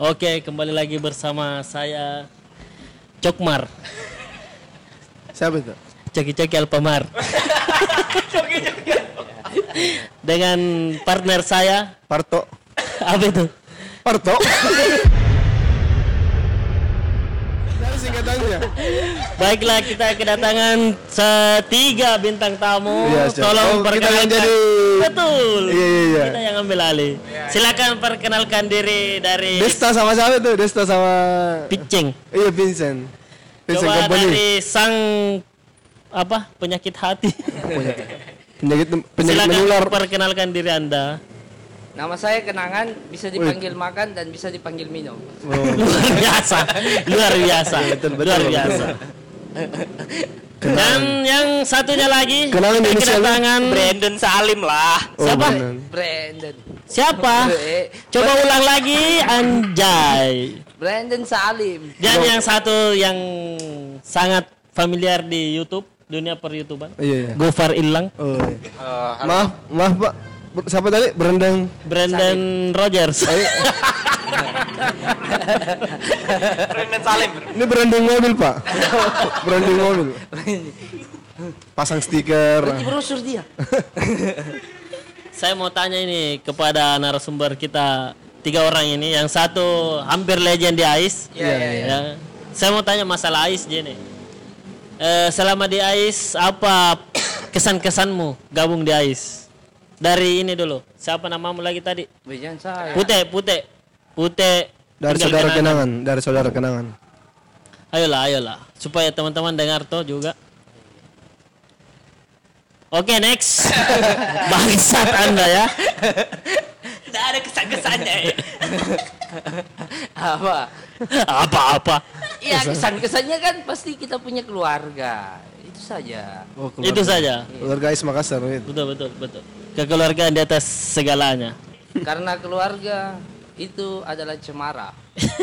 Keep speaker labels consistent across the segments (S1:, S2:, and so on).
S1: Oke, kembali lagi bersama saya Cokmar,
S2: Siapa itu?
S1: Coki-Coki Alpamar. Dengan partner saya,
S2: Parto.
S1: apa itu?
S2: Parto. Dari singkatannya.
S1: Baiklah, kita kedatangan setiga bintang tamu.
S2: Iya, siap.
S1: Tolong
S2: Oh, kita
S1: perkenalkan.
S2: yang jadi-
S1: Betul.
S2: Iya, iya, iya.
S1: Kita yang ambil alih. Silakan perkenalkan diri dari
S2: Desta sama siapa tuh? Desta sama
S1: Picing.
S2: Iya Vincent. Vincent
S1: Coba
S2: Company.
S1: dari sang apa penyakit hati.
S2: Penyakit penyakit
S1: Silakan
S2: menular. Oh,
S1: perkenalkan diri Anda.
S3: Nama saya Kenangan, bisa dipanggil makan dan bisa dipanggil minum.
S2: oh,
S1: luar biasa luar biasa
S2: Iya, betul, betul.
S1: luar biasa dan yang satunya lagi
S2: Kenalan
S1: kita
S2: inisialnya.
S1: kedatangan
S4: Brandon Salim lah.
S2: Oh,
S1: siapa?
S2: benar.
S3: Brandon.
S1: siapa
S3: Bre-
S1: coba ulang lagi Anjay
S3: Brandon Salim.
S1: dan yang satu yang sangat familiar di YouTube dunia per YouTuber
S2: Iya, iya.
S1: Gofar Ilang
S2: Oh, iya. maaf, maaf Pak. Ber- Siapa tadi? Berendang.
S1: Brandon Rogers
S2: Eh,
S4: Brandon Salim.
S2: Ini berendang mobil, Pak. berendang mobil. Pasang
S3: Berarti
S2: stiker.
S3: brosur dia.
S1: saya mau tanya ini kepada narasumber kita tiga orang ini yang satu hampir legend di AIS
S3: Iya, iya, iya.
S1: Ya. Saya mau tanya masalah Ais Jenny. Eh, selama di Ais apa kesan-kesanmu gabung di Ais? Dari ini dulu. Siapa namamu lagi tadi?
S3: Bukan saya.
S1: Putih, Putih. Putih. tinggal
S2: Dari saudara
S1: kenangan.
S2: kenangan, dari saudara kenangan.
S1: Ayolah, ayolah. Supaya teman-teman dengar toh juga. Oke, next. Bangsat Anda ya.
S4: Tidak ada kesan-kesannya. ya.
S3: Apa?
S1: Apa-apa.
S3: Iya, kesan-kesannya kan pasti kita punya keluarga. Itu saja.
S2: Oh, keluarga.
S1: Itu saja.
S2: Keluarga Ais Makassar itu.
S1: Betul, betul, betul. Kekeluargaan di atas segalanya.
S3: Karena keluarga itu adalah cemara.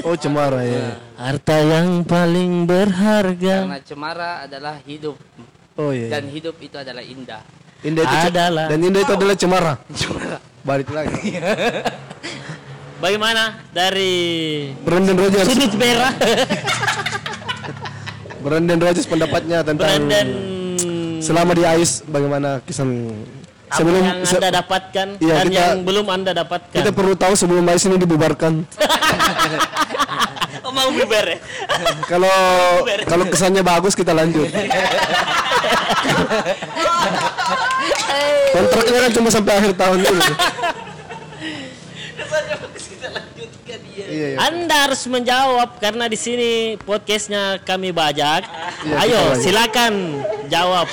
S2: Oh, cemara ya.
S1: Harta yang paling berharga.
S3: Karena cemara adalah hidup.
S2: Oh iya. iya.
S3: Dan hidup itu adalah indah.
S2: Indah itu ce-
S1: Adalah.
S2: dan Indah itu adalah cemara.
S3: Cemara.
S2: Balik lagi.
S1: Bagaimana dari
S2: Brandon Rogers.
S1: sudut merah
S2: Brandon Rogers pendapatnya tentang
S1: Brandon
S2: selama di AIS bagaimana kisah
S1: apa
S2: sebelum
S1: yang
S2: se-
S1: anda dapatkan
S2: Iya,
S1: dan
S2: kita-
S1: yang belum anda dapatkan
S2: kita perlu tahu sebelum AIS ini dibubarkan.
S4: Oh, mau bubar ya?
S2: kalau
S1: ya?
S2: kalau kesannya bagus kita lanjut. Kontraknya kan cuma sampai akhir tahun dulu. Iya, iya.
S1: anda harus menjawab karena di sini podcastnya kami bajak ayo
S2: Iya, kita bajak.
S1: silakan jawab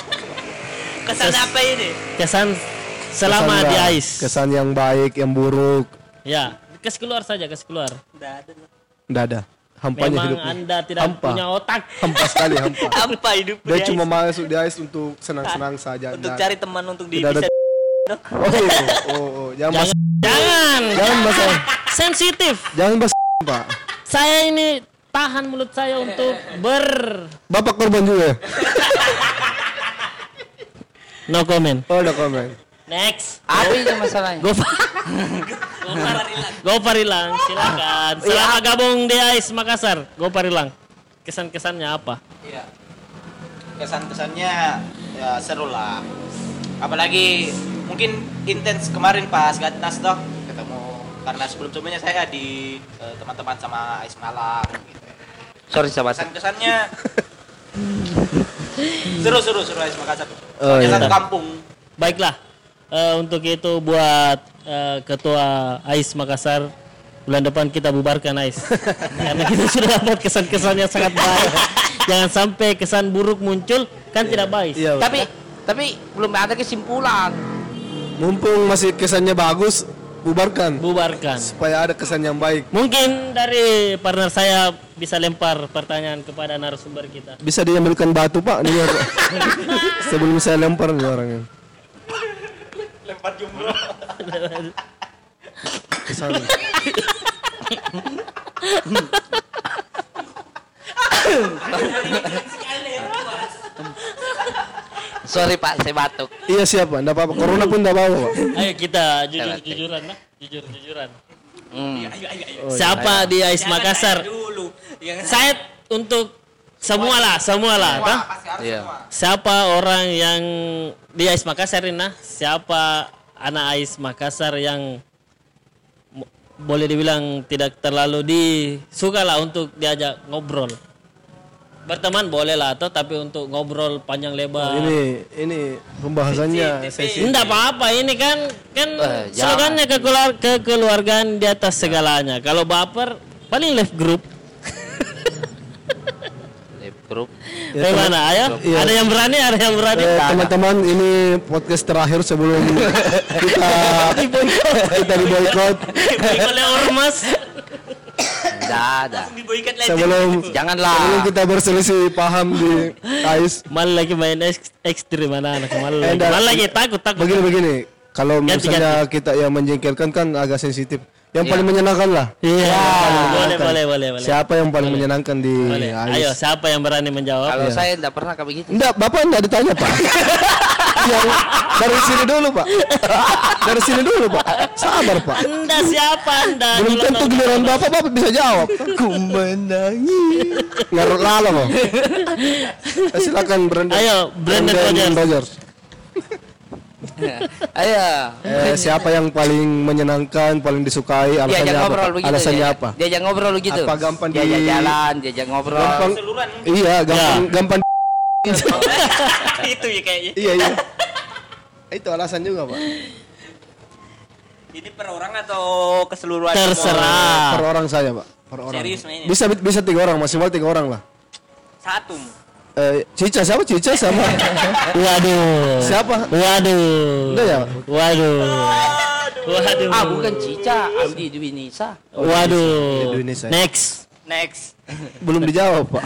S4: Kesan apa ini?
S1: kesan selama
S2: Kesan
S1: di
S2: yang-
S1: ais
S2: Kesan yang baik, yang buruk,
S1: ya kes keluar saja kes keluar
S4: Tidak ada.
S2: Nggak ada. Hampanya
S1: memang
S2: hidupnya.
S1: anda tidak
S2: Hampa.
S1: punya otak
S2: Hampa sekali, hampa.
S4: Apa hidup
S2: Dia
S4: dia?
S2: cuma masuk di AIS untuk senang-senang saja.
S4: Untuk
S2: Nggak-
S4: cari teman untuk di
S2: Tidak ada-
S4: bisa
S2: Oh, iya. oh, oh. Jangan bahas,
S1: jangan
S2: jangan bahas,
S1: sensitif
S2: jangan bahas, Pak.
S1: saya ini tahan mulut saya untuk ber
S2: Bapak korban juga. ya?
S1: no comment
S2: Oh, ada komen.
S1: next
S3: Apa itu masalahnya?
S1: Gofar. Gofar hilang. silakan.
S2: Iya.
S1: Selama gabung di AIS Makassar, Gofar hilang. Kesan-kesannya apa?
S5: Iya. Kesan-kesannya ya seru lah. Apalagi mungkin intens kemarin pas Gatnas toh ketemu karena sebelum-sebelumnya saya di eh, teman-teman sama Ais Malang gitu.
S3: Sorry sahabat.
S5: Kesan-kesannya seru seru seru Ais Makassar.
S2: Oh,
S5: Soalnya
S2: iya.
S5: satu kampung.
S1: Baiklah. eh, untuk itu buat eh, ketua AIS Makassar bulan depan kita bubarkan AIS karena kita sudah dapat kesan-kesan yang sangat baik. Jangan sampai kesan buruk muncul kan tidak baik.
S2: Iya, Pak.
S3: Tapi tapi belum ada kesimpulan.
S2: Mumpung masih kesannya bagus, bubarkan
S1: Bubarkan.
S2: supaya ada kesan yang baik.
S1: Mungkin dari partner saya bisa lempar pertanyaan kepada narasumber kita.
S2: Bisa diambilkan batu, Pak, nih Pak. Sebelum saya lempar nih orangnya. Lempar jumroh. Kesan.
S3: Sorry Pak, saya batuk.
S2: Iya siapa? Enggak apa-apa. Corona pun enggak apa-apa, Pak. Oh,
S1: Ayo kita jujur-jujuran lah, jujur-jujuran.
S3: Hmm.
S4: Iya, ayo, ayo, ayo.
S1: Siapa di Ais
S4: Jangan
S1: Makassar?
S4: saya dulu. Iya. Jangan saya.
S1: Saya untuk semua lah, semua lah.
S5: Semua,
S1: toh?
S5: pasti harus
S3: Iya.
S5: semua.
S1: Siapa orang yang di Ais Makassar ini? nah? Siapa anak Ais Makassar yang mo- boleh dibilang tidak terlalu disuka lah untuk diajak ngobrol? Berteman boleh lah atau tapi untuk ngobrol panjang lebar.
S2: Ini ini pembahasannya
S4: Sensitif.
S2: sesi
S1: Enggak apa-apa ini kan kan
S3: Eh, jangan.
S1: slogannya kekeluar- kekeluargaan di atas segalanya. Kalau baper paling left group.
S3: Lab group.
S1: Bagaimana? Ayo,
S2: iya.
S1: ada yang berani, ada yang berani.
S2: Eh, teman-teman ini podcast terakhir sebelum kita kita di boykot
S1: Dibeli oleh ormas.
S3: Enggak ada.
S4: Diboikat lagi.
S2: sebelum
S3: Janganlah.
S2: sebelum kita berselisih paham di Ais
S1: Mal lagi main eks- ekstrim anak-anak. Mal lagi,
S2: Enggak.
S1: mal lagi takut takut.
S2: begini begini kalau
S1: Ganti,
S2: misalnya kita yang menjengkelkan kan agak sensitif yang paling menyenangkan lah
S1: Iya, boleh,
S2: Menyenangkan.
S1: boleh, boleh, boleh.
S2: siapa yang paling menyenangkan di
S1: Boleh. Ayo,
S2: Ais
S1: siapa yang berani menjawab?
S2: iya.
S3: Kalau saya enggak pernah kayak begitu.
S2: enggak bapak enggak ditanya pak yang dari sini dulu pak dari sini dulu pak sabar pak
S1: Anda siapa Anda?
S2: belum
S1: Dulu
S2: tentu
S1: nonton-
S2: giliran bapak bapak bisa jawab ku menangi ngarut lala loh silakan Brandon
S1: Ayo, Brandon Rogers.
S3: Ayo.
S2: Eh, siapa yang paling menyenangkan paling disukai
S1: Iya,
S2: alasannya
S3: Diajak
S2: apa
S3: ngobrol
S2: Pak?
S3: begitu.
S2: alasannya
S1: ya,
S3: diajak-
S2: apa
S3: Diajak ngobrol begitu.
S2: Apa gampang di-
S3: Diajak jalan, diajak ngobrol.
S2: gampang
S5: Seluruhan
S2: iya gampang gampang
S4: Itu ya kayaknya.
S2: iya iya itu alasan juga pak
S4: Ini per orang atau keseluruhan?
S1: Terserah.
S2: per orang saya pak per orang
S4: Serius mainnya.
S2: bisa bisa tiga orang maksimal tiga orang lah
S4: Satu.
S2: eh, Cica siapa Cica sama
S1: Waduh.
S2: siapa
S1: Waduh.
S2: Enggak ya, Pak?
S1: Waduh. Waduh.
S3: Ah, bukan Cica, Abdi Dwinisa.
S1: Waduh.
S2: Indonesia.
S1: Next.
S4: Next.
S2: belum dijawab pak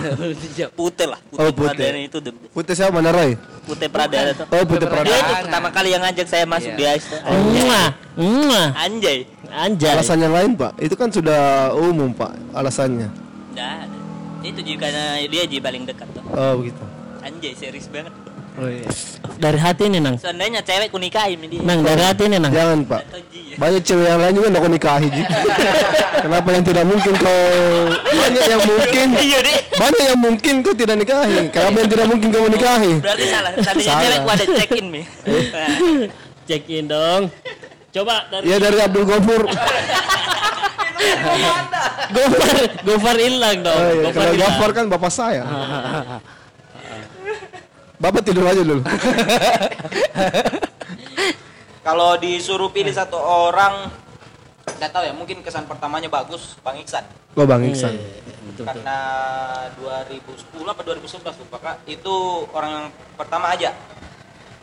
S4: Putih lah.
S2: Oh,
S4: Putih
S2: Putih.
S4: Pradana itu. the-
S2: putih siapa Narai
S4: Putih Pradana tuh.
S2: oh putih
S4: Dia Iya, itu
S2: Pradana
S3: Pradana.
S4: pertama kali yang ngajak saya masuk
S3: Iya.
S4: di AIS tuh.
S1: Mwah. Mwah.
S4: Anjay.
S1: Anjay.
S2: alasan yang lain pak itu kan sudah umum pak alasannya
S4: Nah, itu juga karena dia jadi paling dekat tuh.
S2: oh begitu
S4: Anjay, serius banget.
S2: oh, iya.
S1: Dari hati ini, Nang.
S4: Seandainya cewek ku nikahin ini dia.
S2: Nah.
S1: Nang, dari hati ini, Nang.
S2: jangan pak
S4: Atau Ji ya.
S2: banyak cewek yang lain juga nggak kau nikahi Ji. kenapa yang tidak mungkin kau banyak yang mungkin
S4: Iya deh.
S2: banyak yang mungkin kau tidak nikahi kenapa yang tidak mungkin kau nikahi
S4: Berarti salah. Tadinya
S2: Salah.
S4: cewek ku ada check in mi. Nah,
S1: Check in dong. Coba dari
S2: ya dari Abdul Ghafur
S1: Oh, Gofar, Gofar hilang dong.
S2: oh, iya.
S1: Gofar
S2: kalau
S1: hilang.
S2: Ghafur kan bapak saya bapak tidur aja dulu
S5: Kalau disuruh pilih satu orang, nggak tahu ya. Mungkin kesan pertamanya bagus, Bang Iksan.
S2: kau
S1: Iya,
S2: bang Iksan
S5: Karena 2010 apa 2011 lupa kak, itu orang yang pertama aja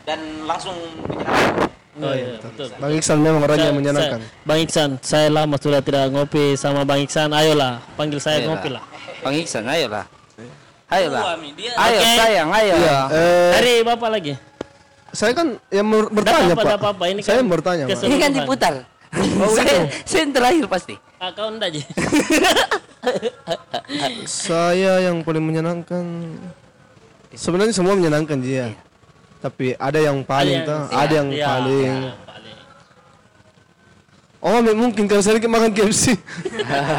S5: dan langsung menyenangkan.
S1: Oh, iya, betul.
S2: bang Iksan memang orangnya
S1: Saya-
S2: menyenangkan
S1: saya- Bang Iksan, saya lama sudah tidak ngopi sama Bang Iksan. Ayolah, panggil saya
S2: Iya.
S3: Ayolah.
S1: ngopi Iya lah.
S3: Bang Iksan, ayolah. Ayolah.
S4: Tua, Mi. Dia-
S3: Ayo
S1: Oke.
S3: sayang, ayo.
S2: eh,
S1: Dari Bapak lagi.
S2: saya kan yang mer- bertanya
S1: apa,
S2: pak
S1: ndak apa-apa, ini
S2: saya
S1: kan
S2: bertanya pak
S1: keseluruhan.
S3: Ini kan diputar.
S2: Oh, iya.
S3: saya, saya yang terakhir pasti.
S1: Ah, kau enggak, Ji?
S2: Saya yang paling menyenangkan sebenarnya semua menyenangkan dia.
S3: Iya.
S2: Tapi ada yang paling tuh, ada yang
S1: Iya,
S2: paling.
S1: iya, paling.
S2: Oh, mi- mungkin kalau saya lagi makan KFC.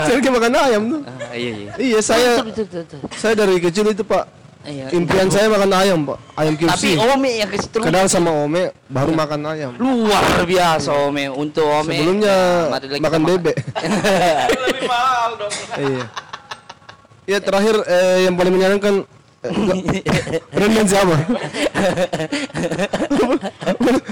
S2: saya lagi makan ayam tuh.
S3: Ah, iya, iya.
S2: Iya, saya
S3: Betul, betul, betul, betul.
S2: saya dari kecil itu, Pak.
S3: Iya.
S2: Impian saya makan ayam, Pak. Ayam
S3: Tapi
S2: KFC.
S3: oh, Ome yang ke situ
S2: Kenal sama Ome baru
S3: Iya.
S2: makan ayam.
S3: luar biasa Ome untuk Ome.
S2: Sebelumnya
S3: Nah, mari lagi
S2: makan
S3: kita
S2: bebek.
S5: Lebih mahal dong.
S2: iya. Ya terakhir eh, yang paling menyenangkan eh, enggak. Brandon siapa?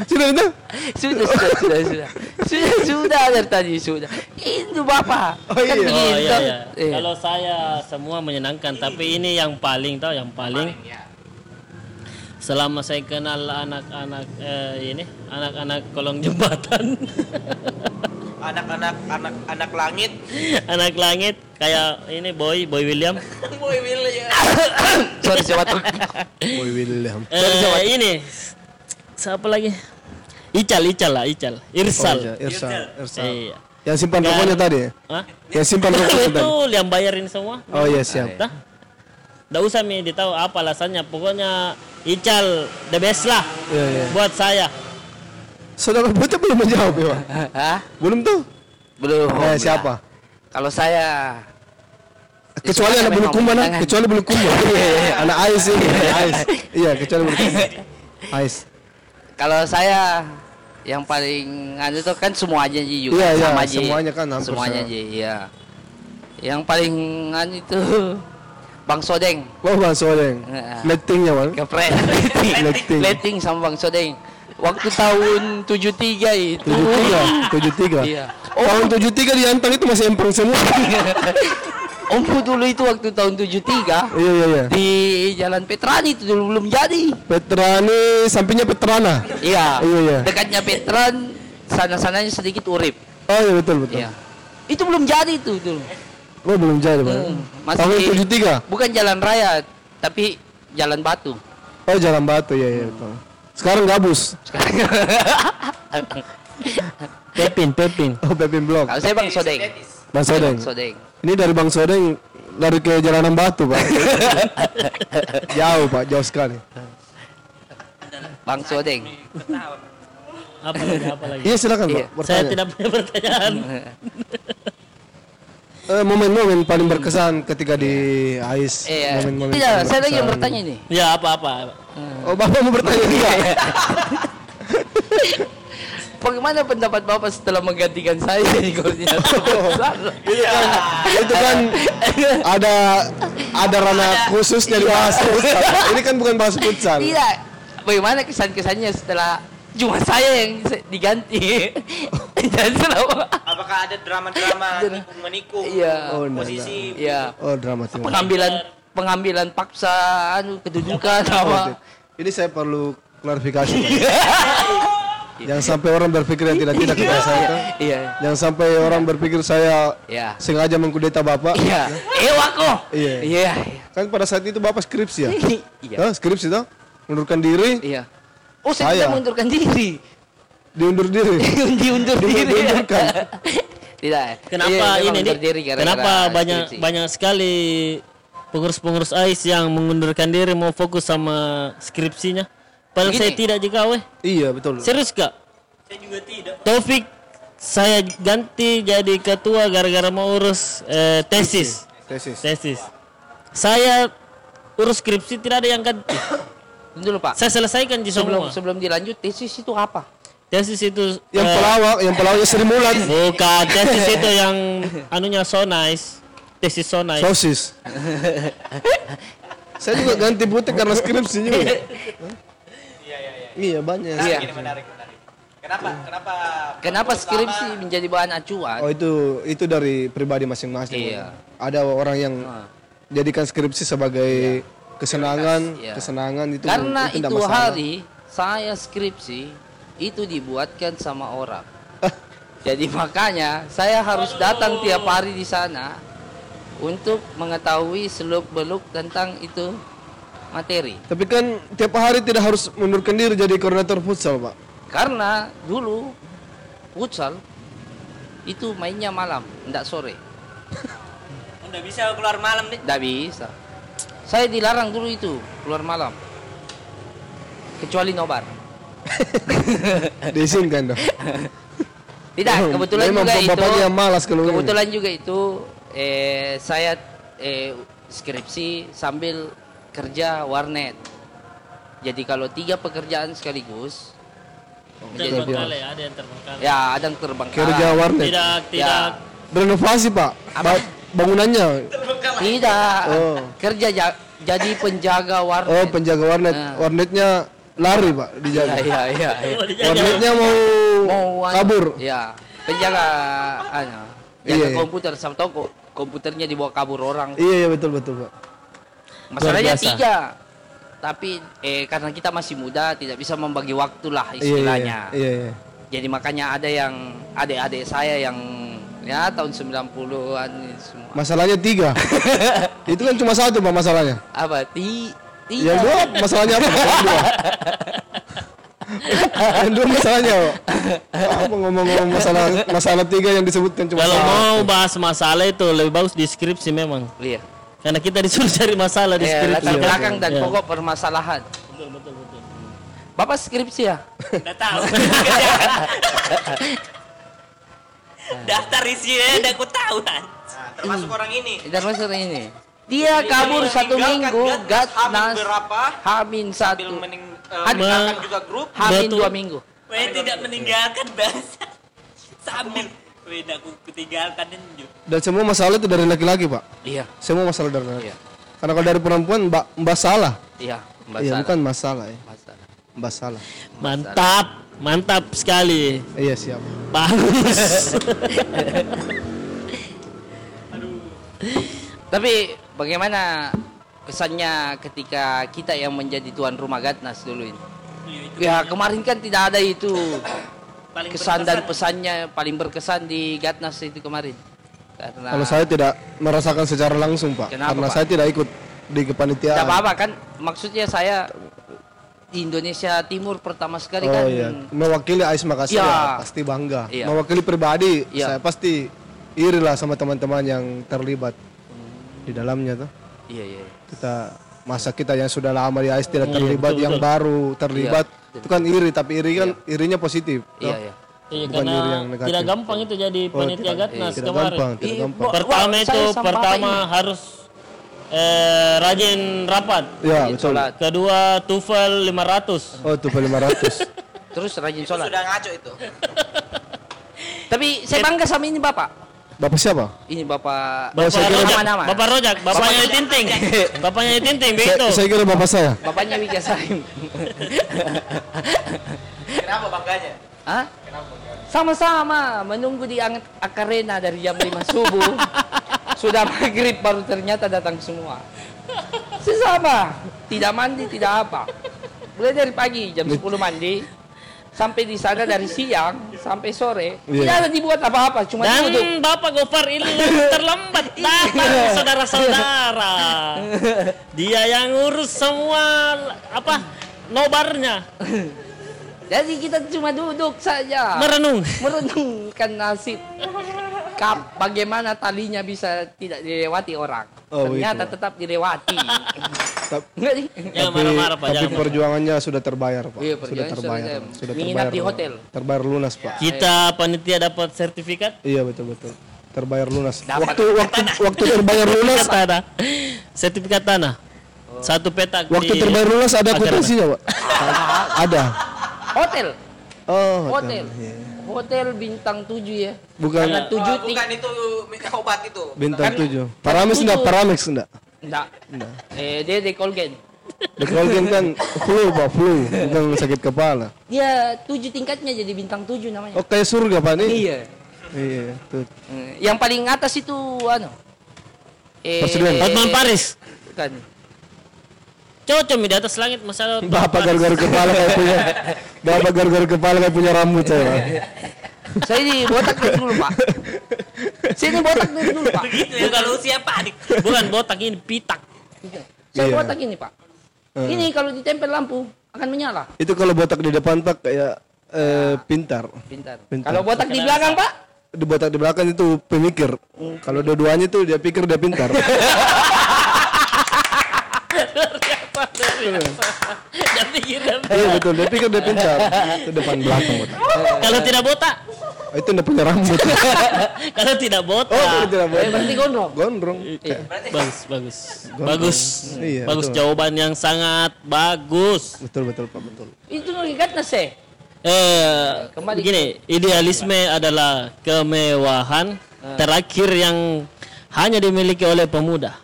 S2: Sudah itu?
S3: Sudah, sudah, sudah, sudah. Sudah, sudah dari tadi sudah. Itu Bapak.
S2: Oh, iya.
S3: Kan begini,
S1: Oh iya,
S3: kan?
S1: iya.
S3: Iya.
S1: Kalau saya semua menyenangkan, tapi ini yang paling tahu yang paling. ya. Selama saya kenal anak-anak eh, ini, anak-anak kolong jembatan,
S5: Anak-anak anak-anak langit.
S1: anak langit kayak ini Boy, Boy William.
S5: Boy William.
S3: Sorry, sobat.
S2: Boy William.
S1: Eh, ini siapa lagi? Ical, Ical lah, Ical. Irsal.
S2: Oh, iya, Irsal. Irsal.
S1: Iya.
S2: Yang simpan
S1: Kan-
S2: rokoknya tadi. ya?
S1: Hah?
S2: Yang simpan rokoknya
S1: itu
S2: tadi.
S1: yang bayarin semua.
S2: Oh iya siap.
S1: Dah. Nggak usah mi ditahu apa alasannya. Pokoknya Ical the best lah
S2: Iya iya.
S1: buat saya.
S2: Saudara Buta belum menjawab ya, Pak.
S3: Hah?
S2: Belum tuh.
S3: Belum.
S2: Eh,
S3: Bila.
S2: siapa?
S3: Kalau saya
S2: Kecuali
S3: Semuanya
S2: anak bulu
S3: memang
S2: kumba nak,
S3: tangan.
S2: kecuali bulu kumba. anak ais ini, anak ais. Iya, kecuali bulu kumba. Ais.
S3: kalau saya yang paling anu tuh kan semua aja Ji, juga
S2: Iya, iya,
S3: sama Ji.
S2: semuanya kan hampir
S3: semuanya
S2: sama.
S3: aja iya. Yang paling anu itu Bang Sodeng.
S2: Wah, bang Soleng.
S3: Iya.
S2: Lettingnya bang.
S3: Kepret.
S2: Letting.
S3: Letting sama Bang Sodeng. Waktu tahun 73 itu.
S2: Tujuh tiga, tujuh tiga.
S3: Iya.
S2: Tahun tujuh tiga di Antang itu masih empreng semua.
S3: Omku dulu itu waktu tahun 73
S2: Iya, iya, iya.
S3: di Jalan Petrani itu dulu belum jadi.
S2: Petrani, sampingnya Petrana.
S3: Iya.
S2: Iya, iya.
S3: Dekatnya Petran sana-sananya sedikit urip.
S2: Oh iya betul betul.
S3: Iya. Itu belum jadi itu dulu.
S2: Oh belum jadi bang.
S3: Hmm, masih
S2: Tahun
S3: di-
S2: tujuh tiga.
S3: Bukan jalan raya, tapi jalan batu.
S2: Oh Jalan Batu ya ya betul. Sekarang gabus.
S1: Pepin, Pepin.
S2: Oh Pepin Blok.
S3: Kalau saya Bang Sodeng.
S2: Bang Sodeng.
S3: Sodeng.
S2: Ini dari Bang Sodeng lari ke Jalanan Batu pak. jauh pak, jauh sekali.
S3: Bang Sodeng.
S1: Apa lagi? Apa lagi?
S2: Iya silakan pak.
S3: Iya,
S1: Saya
S2: bertanya.
S1: tidak punya pertanyaan.
S2: Eh, momen-momen paling berkesan ketika di AIS.
S3: Eh,
S2: Momen-momen
S3: tidak,
S2: paling
S3: saya lagi yang
S2: berkesan.
S3: bertanya nih.
S1: Ya apa-apa.
S2: Oh bapak mau bertanya juga.
S3: Bagaimana pendapat Bapak setelah menggantikan saya jadi koordinator? besar?
S2: itu kan ada ada ranah khusus dari bahas futsal. Pak. Ini kan bukan bahas futsal.
S3: Tidak. Bagaimana kesan-kesannya setelah cuma saya yang se- diganti dan selama
S5: Apakah ada drama-drama
S3: Drama.
S5: nikung menikung?
S3: Iya.
S2: Oh, enggak,
S5: posisi
S3: ya
S2: Oh dramatis.
S3: pengambilan pengambilan paksa anu kedudukan apa Iya.
S2: Ini saya perlu klarifikasi. Pak. Jangan sampai orang berpikir yang tidak-tidak kita saya itu.
S3: iya
S2: Jangan sampai orang berpikir saya
S3: iya
S2: sengaja mengkudeta Bapak.
S3: iya ewa kok
S2: Iya.
S3: iya
S2: Kan pada saat itu Bapak skripsi ya?
S3: iya
S2: Hah, skripsi toh? Mundurkan diri,
S3: iya oh saya
S2: Saya.
S3: tidak mengundurkan diri
S2: diundur
S3: Iya.
S2: diri.
S3: diundur diri
S2: Diundurkan.
S3: tidak Iya,
S1: Kenapa ini?
S3: saya
S1: Dik?
S3: mengundurkan diri gara-gara
S1: kenapa banyak
S3: skripsi.
S1: banyak sekali pengurus-pengurus AIS yang mengundurkan diri mau fokus sama skripsinya? Padahal saya
S3: Begini.
S1: tidak juga weh.
S2: iya, betul.
S1: Serius kak? Saya juga tidak. Taufik saya ganti jadi ketua gara-gara mau urus eh, tesis.
S2: Tesis.
S1: Tesis. Saya urus skripsi tidak ada yang ganti.
S3: Tunggu dulu pak
S1: saya selesaikan di semua.
S3: sebelum sebelum dilanjut tesis itu apa
S1: Tesis itu
S2: Yang
S1: eh,
S2: pelawak, yang pelawaknya Sri Mulat.
S1: Bukan, tesis itu yang anunya so nice. Tesis so nice.
S2: Sosis. saya juga ganti putih karena skripsi juga. Iya, Iya, banyak.
S3: Iya.
S5: Ini menarik, menarik. Kenapa? Kenapa?
S3: kenapa
S5: Bagus
S3: skripsi
S5: lama?
S3: menjadi bahan acuan
S2: Oh itu itu dari pribadi masing-masing.
S3: Iya.
S2: Ada orang yang
S3: Ah.
S2: jadikan skripsi sebagai kesenangan,
S3: Prioritas, iya.
S2: kesenangan itu
S3: Karena
S2: tidak
S3: itu iya.
S2: masalah.
S3: hari saya skripsi itu dibuatkan sama orang. Jadi makanya saya harus datang tiap hari di sana untuk mengetahui seluk beluk tentang itu materi.
S2: Tapi kan tiap hari tidak harus mundurkan diri jadi koordinator futsal, Pak.
S3: Karena dulu futsal itu mainnya malam, tidak sore.
S4: Nggak bisa keluar malam nih.
S3: Tidak bisa. Saya dilarang dulu itu keluar malam. Kecuali nobar.
S2: Diizinkan dong.
S3: Ah, Tidak, kebetulan
S2: Memang
S3: juga itu.
S2: bapaknya yang malas kalau ini.
S3: Kebetulan juga itu eh, saya eh, skripsi sambil kerja warnet. Jadi kalau tiga pekerjaan sekaligus,
S1: Ada yang terbengkalai, ada yang terbengkalai.
S3: ya ada yang terbang.
S2: kerja warnet.
S1: Tidak,
S3: Ya.
S1: tidak.
S2: Renovasi, Pak.
S3: Apa?
S2: Ba- bangunannya.
S3: Tidak,
S2: Oh.
S3: kerja ja- jadi penjaga warnet.
S2: Oh, penjaga warnet.
S3: Ah.
S2: Warnetnya lari, Pak, dijaga.
S3: Iya, iya, iya. iya.
S1: Mau dijajal.
S2: Warnetnya mau, Iya,
S3: Mau anu-
S2: kabur.
S3: Ya, penjaga anu,
S2: Iya,
S3: jaga
S2: iya.
S3: komputer sama toko. Komputernya dibawa kabur orang.
S2: Iya, iya betul betul, Pak.
S3: Masalahnya
S1: biasa.
S3: tiga. Tapi eh, karena kita masih muda tidak bisa membagi waktu lah
S2: Iya, iya,
S3: istilahnya.
S2: Iya, iya.
S3: Jadi makanya ada yang adik-adik saya yang ya tahun 90-an ini semua.
S2: Masalahnya tiga. itu kan cuma satu pak masalahnya.
S3: Apa ti
S2: Yang dua
S3: tidak?
S2: masalahnya apa? Yang dua. yang dua masalahnya Pak. apa ngomong-ngomong masalah masalah tiga yang disebutkan cuma
S1: Kalau
S2: satu.
S1: mau bahas masalah itu lebih bagus di skripsi memang.
S3: Iya.
S1: Karena kita disuruh cari masalah di
S3: Eh,
S1: skripsi.
S3: latar
S2: iya,
S3: belakang dan
S1: Iya.
S3: pokok permasalahan.
S1: Betul, betul, betul.
S3: Bapak skripsi ya?
S4: Nggak tahu. Daftar isinya ada aku tahu kan.
S5: Nah, termasuk orang ini.
S3: Termasuk ini. Dia kabur satu minggu, gas
S5: gas hamil
S3: nas,
S5: berapa?
S3: Hamin
S5: Sambil
S3: satu,
S5: mening, eh,
S3: Ada-
S5: meninggalkan juga grup.
S3: hamin
S1: Betul.
S3: dua minggu.
S4: Weh tidak meninggalkan bahasa. Sambil weh dah aku ketinggalkan ninju.
S2: Dan semua masalah itu dari laki-laki, Pak.
S3: Iya,
S2: Semua masalah dari laki.
S3: Iya.
S2: Karena kalau dari perempuan, Mbak, Mbak salah.
S3: iya, Mbak
S2: Iya,
S3: Sarah.
S2: bukan masalah ya.
S3: Mbak Sarah.
S2: Mbak salah.
S1: Mantap, mantap sekali.
S2: Iya, siap.
S3: Nah.
S1: Bagus.
S3: Tapi bagaimana kesannya ketika kita yang menjadi tuan rumah Gatnas dulu ini?
S4: Iya, itu
S3: Ya kemarin kan tidak ada itu
S4: paling
S3: kesan
S4: berkesan.
S3: dan pesannya paling berkesan di Gatnas itu kemarin. Karena
S2: Kalau saya tidak merasakan secara langsung, Pak.
S3: Kenapa,
S2: Karena
S3: Pak?
S2: saya tidak ikut di kepanitiaan.
S3: tidak apa-apa kan maksudnya saya di Indonesia Timur pertama sekali
S2: Oh
S3: kan
S2: iya, mewakili Ais Makassar
S3: Iya.
S2: ya, pasti bangga.
S3: Iya.
S2: Mewakili pribadi,
S3: Iya.
S2: saya pasti iri lah sama teman-teman yang terlibat di dalamnya tuh.
S3: iya iya
S2: Kita masa kita yang sudah lama di Ais tidak terlibat, yang baru terlibat itu kan iri, tapi iri kan irinya positif. toh.
S3: iya iya
S1: Iya,
S2: Bukan
S1: karena
S2: diri yang negatif. Oh,
S1: tidak gampang itu jadi panitia Gatnas
S2: Tidak
S1: kemarin.
S2: gampang, tidak
S3: Iya,
S2: gampang.
S3: Wah,
S1: Pertama
S3: saya
S1: itu
S3: sama
S1: pertama
S3: bapak
S1: harus eh, rajin rapat.
S2: Iya, betul.
S3: sholat
S1: Kedua TOEFL 500.
S2: Oh, tuh 500.
S3: terus rajin
S5: Itu
S3: sholat
S5: sudah ngaco itu.
S3: tapi saya bangga sama ini bapak
S2: Bapak siapa?
S3: ini bapak
S2: Bapak saya kira-
S1: Rojak,
S3: Oh, Nama-nama.
S1: Bapak Rojak, bapaknya Tinting. Bapaknya Tinting begitu.
S2: Saya, saya kira bapak saya.
S3: bapaknya Wija Salim
S5: Kenapa bangganya?
S3: Hah? sama-sama menunggu di Ang- akarena dari jam 5 subuh sudah maghrib baru ternyata datang semua sesama tidak mandi tidak apa mulai dari pagi jam 10 mandi sampai di sana dari siang sampai sore tidak ada dibuat apa-apa cuma
S1: Dan
S3: duduk
S1: Bapak Gofar ini yang terlambat datang
S2: Iya.
S1: saudara-saudara. Dia yang ngurus semua apa nobarnya
S3: jadi kita cuma
S2: Ah.
S3: duduk saja
S1: merenung.
S3: merenungkan nasib Kap, bagaimana talinya bisa tidak dilewati orang
S2: Oh,
S3: ternyata
S2: begitu.
S3: tetap dilewati
S2: Ta-
S3: Enggak sih?
S1: Jangan
S2: tapi
S1: Ya, marah-marah, Pak,
S2: tapi
S1: jangan
S2: perjuangannya sudah terbayar, Pak.
S3: Iya,
S2: sudah
S3: perjuangan
S2: terbayar.
S3: sudah-
S2: Sudah
S3: Menginap
S2: terbayar.
S3: di hotel. Iya.
S2: Terbayar lunas, Pak.
S1: Kita panitia dapat sertifikat
S2: Iya betul betul. Terbayar lunas.
S3: Dapat
S2: waktu waktu waktu terbayar lunas.
S1: sertifikat tanah. Sertifikat tanah. Satu petak
S2: Oh. Waktu
S3: Iya.
S1: di-
S2: terbayar lunas ada
S1: Acara.
S2: akuntansinya, Pak. ada.
S3: Hotel.
S2: Oh,
S3: Hotel.
S2: hotel. Iya.
S3: Hotel bintang 7 ya.
S2: Bukan
S3: Karena tujuh
S5: Oh, bukan itu obat itu.
S2: bintang tujuh. Paramex enggak, Paramex enggak.
S3: Enggak. Eh, dia di Colgan.
S2: The Colgan kan flu, Pak, flu. Bukan sakit kepala.
S3: Dia tujuh tingkatnya jadi bintang 7 namanya.
S2: Oh, kayak surga, Pak, nih.
S3: Iya.
S2: Iya, tuh.
S3: Eh, Yang paling atas itu anu. Eh,
S2: Presiden.
S1: Hotman Paris.
S3: Bukan.
S1: Cocok di atas langit masalah Hotman
S2: Bapak
S1: Paris.
S2: gargar kepala kayak punya Bapak gargar kepala kayak punya rambut saya. Pak.
S3: Saya di botak dari dulu, Pak. Saya di botak dari dulu, Pak.
S4: Begitu ya kalau usia panik.
S1: Bukan botak ini pitak.
S3: Saya
S2: Iya.
S3: botak ini, Pak. Ini kalau ditempel lampu akan menyala.
S2: Itu kalau botak di depan Pak kayak eh, pintar.
S3: Pintar.
S2: Pintar.
S3: Kalau botak di belakang, Pak,
S2: Di botak di belakang itu pemikir. Kalau dua-duanya itu dia pikir dia pintar.
S1: Jangan pikir, jangan pikir.
S2: Iya betul, dia pikir dia pintar. Itu depan belakang botak.
S1: Kalau tidak botak,
S2: Oh, itu udah punya rambut.
S1: kalau tidak botak.
S2: Oh, itu tidak
S3: eh,
S2: boleh.
S3: berarti gondrong.
S2: Gondrong.
S1: Iya.
S2: Eh, Kayak-
S1: Bagus, bagus. Bagus.
S2: Iya,
S1: bagus
S2: betul.
S1: jawaban yang sangat bagus.
S2: Betul betul Pak, betul.
S3: Itu ngikat nase.
S1: Eh,
S3: Kembali.
S1: gini, idealisme adalah kemewahan terakhir yang hanya dimiliki oleh pemuda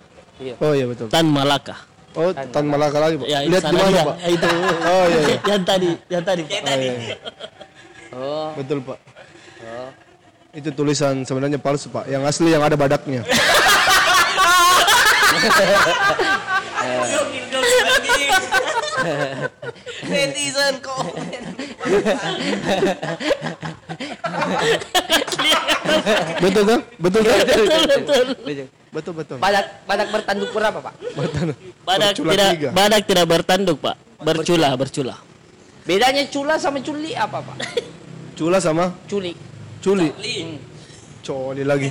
S2: Oh iya betul.
S1: dan malaka.
S2: Oh, Tan Malaka lagi, Pak.
S1: Ya,
S2: Lihat
S1: sana
S2: di mana,
S1: dia.
S2: Pak?
S1: Ya, Itu.
S2: Oh iya, iya.
S1: yang tadi, yang tadi. Pak.
S3: Oh,
S2: Betul, Pak. Itu tulisan sebenarnya palsu, Pak. Yang asli yang ada badaknya.
S4: Gokil gokil lagi.
S5: Netizen kok.
S2: betul kan? Betul kan?
S1: Iya, Betul.
S2: betul betul.
S3: badak badak bertanduk berapa, Pak?
S1: Badak
S2: Bercula
S1: tidak
S2: tiga.
S1: badak tidak bertanduk, Pak. Bercula, bercula.
S3: Bedanya cula sama culi apa, Pak?
S2: Cula sama
S3: Culi. Hmm.
S2: culi. Coli lagi.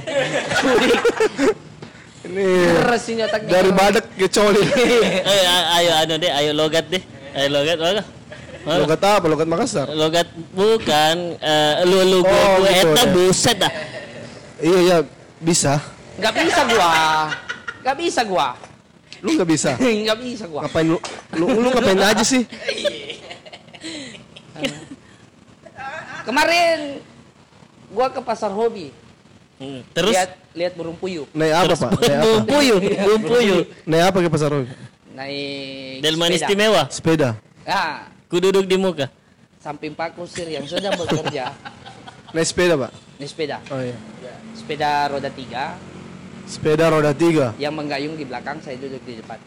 S2: Ini
S3: Keras ini otaknya.
S2: dari badak ke coli.
S1: Eh, a- ayo anu deh, ayo logat deh. Ayo logat, logat. Mana?
S2: Logat apa? Logat Makassar.
S1: Logat bukan eh, lu lu
S2: Oh,
S1: gua gua
S2: gitu
S1: eta
S2: ya.
S1: buset dah.
S2: Iya iya bisa.
S3: Nggak bisa gua. Nggak bisa gua.
S2: Lu nggak bisa.
S3: Nggak bisa gua.
S2: Ngapain lu lu, lu ngapain aja sih?
S3: Kemarin gua ke pasar hobi.
S1: Hmm, Terus
S3: lihat lihat burung puyuh.
S2: Naik apa pak? Naik apa?
S1: bumbu puyuh, bumbu puyuh.
S2: Naik apa ke pasar Robi?
S3: Naik
S1: Delman
S3: sepeda.
S1: istimewa,
S2: Sepeda.
S3: Nah,
S1: ku duduk di muka.
S3: samping Pak Kusir yang sudah bekerja
S2: Naik sepeda pak.
S3: di sepeda.
S2: Oh iya.
S3: Sepeda roda tiga
S2: Sepeda roda tiga.
S3: yang menggayung di belakang, saya duduk di depan.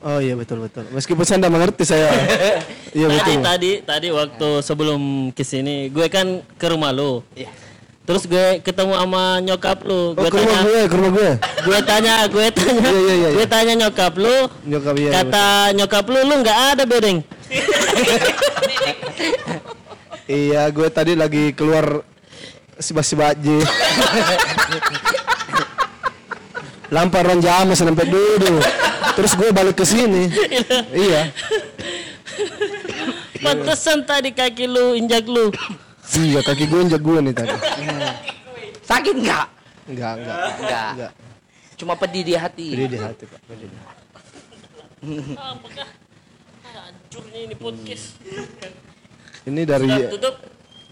S2: Oh iya betul betul. Meskipun saya tidak mengerti saya. Iya
S1: tadi
S2: betul.
S1: tadi tadi waktu sebelum kesini gue kan ke rumah lu
S3: Iya.
S1: terus gue ketemu sama nyokap lu
S2: Oh
S1: gue
S2: ke rumah
S1: tanya
S2: gue, ke rumah gue.
S1: gue tanya gue tanya
S2: Iya, iya, iya,
S1: gue
S2: iya.
S1: tanya nyokap lu
S2: Nyokap iya.
S1: kata nyokap lu lu nggak ada bedeng
S2: betul. Iya gue tadi lagi keluar sibak-sibak aja. Lampar orang jamas sampai duduk. Terus gue balik ke sini. iya.
S1: pantesan tadi kaki lu injak lu
S2: Iya kaki gue injak gue nih tadi.
S3: Sakit nggak?
S2: Enggak enggak.
S3: Nggak.
S2: Enggak.
S3: Cuma pedih di hati.
S2: Beri di hati pak. Beri di hati.
S1: hancurnya ini podcast
S2: Ini dari
S1: tutup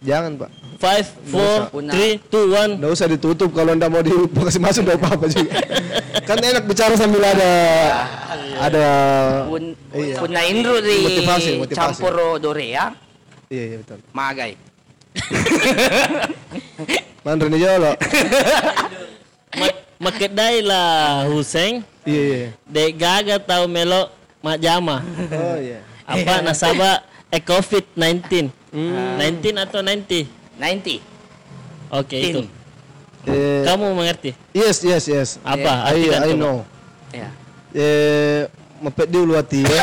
S2: jangan pak.
S1: five four
S3: Una.
S1: three two one
S2: Nggak usah ditutup kalau nggak mau dikasih masuk nggak apa-apa juga. kan enak bicara sambil ada ada
S3: Pun,
S2: Iya.
S3: pun na inro di
S2: Motivasi, motivasi.
S3: campur dorea,
S2: iya iya betul.
S3: magay.
S2: Mandrin aja lo.
S1: Ma- makedai lah Huseng
S2: Iya iya.
S1: dek gaga tau melo mak jama
S2: Oh iya.
S1: apa nasabah eh covid 19 19 atau 90
S3: 90.
S1: oke itu
S3: Tin.
S2: Eh,
S1: kamu mengerti
S2: yes yes yes.
S3: Eh,
S1: apa
S2: I,
S3: iya,
S1: artikan
S2: I
S1: coba?
S2: know.
S3: Ya.
S2: Eh mepet di ulu hati ya.
S4: Udah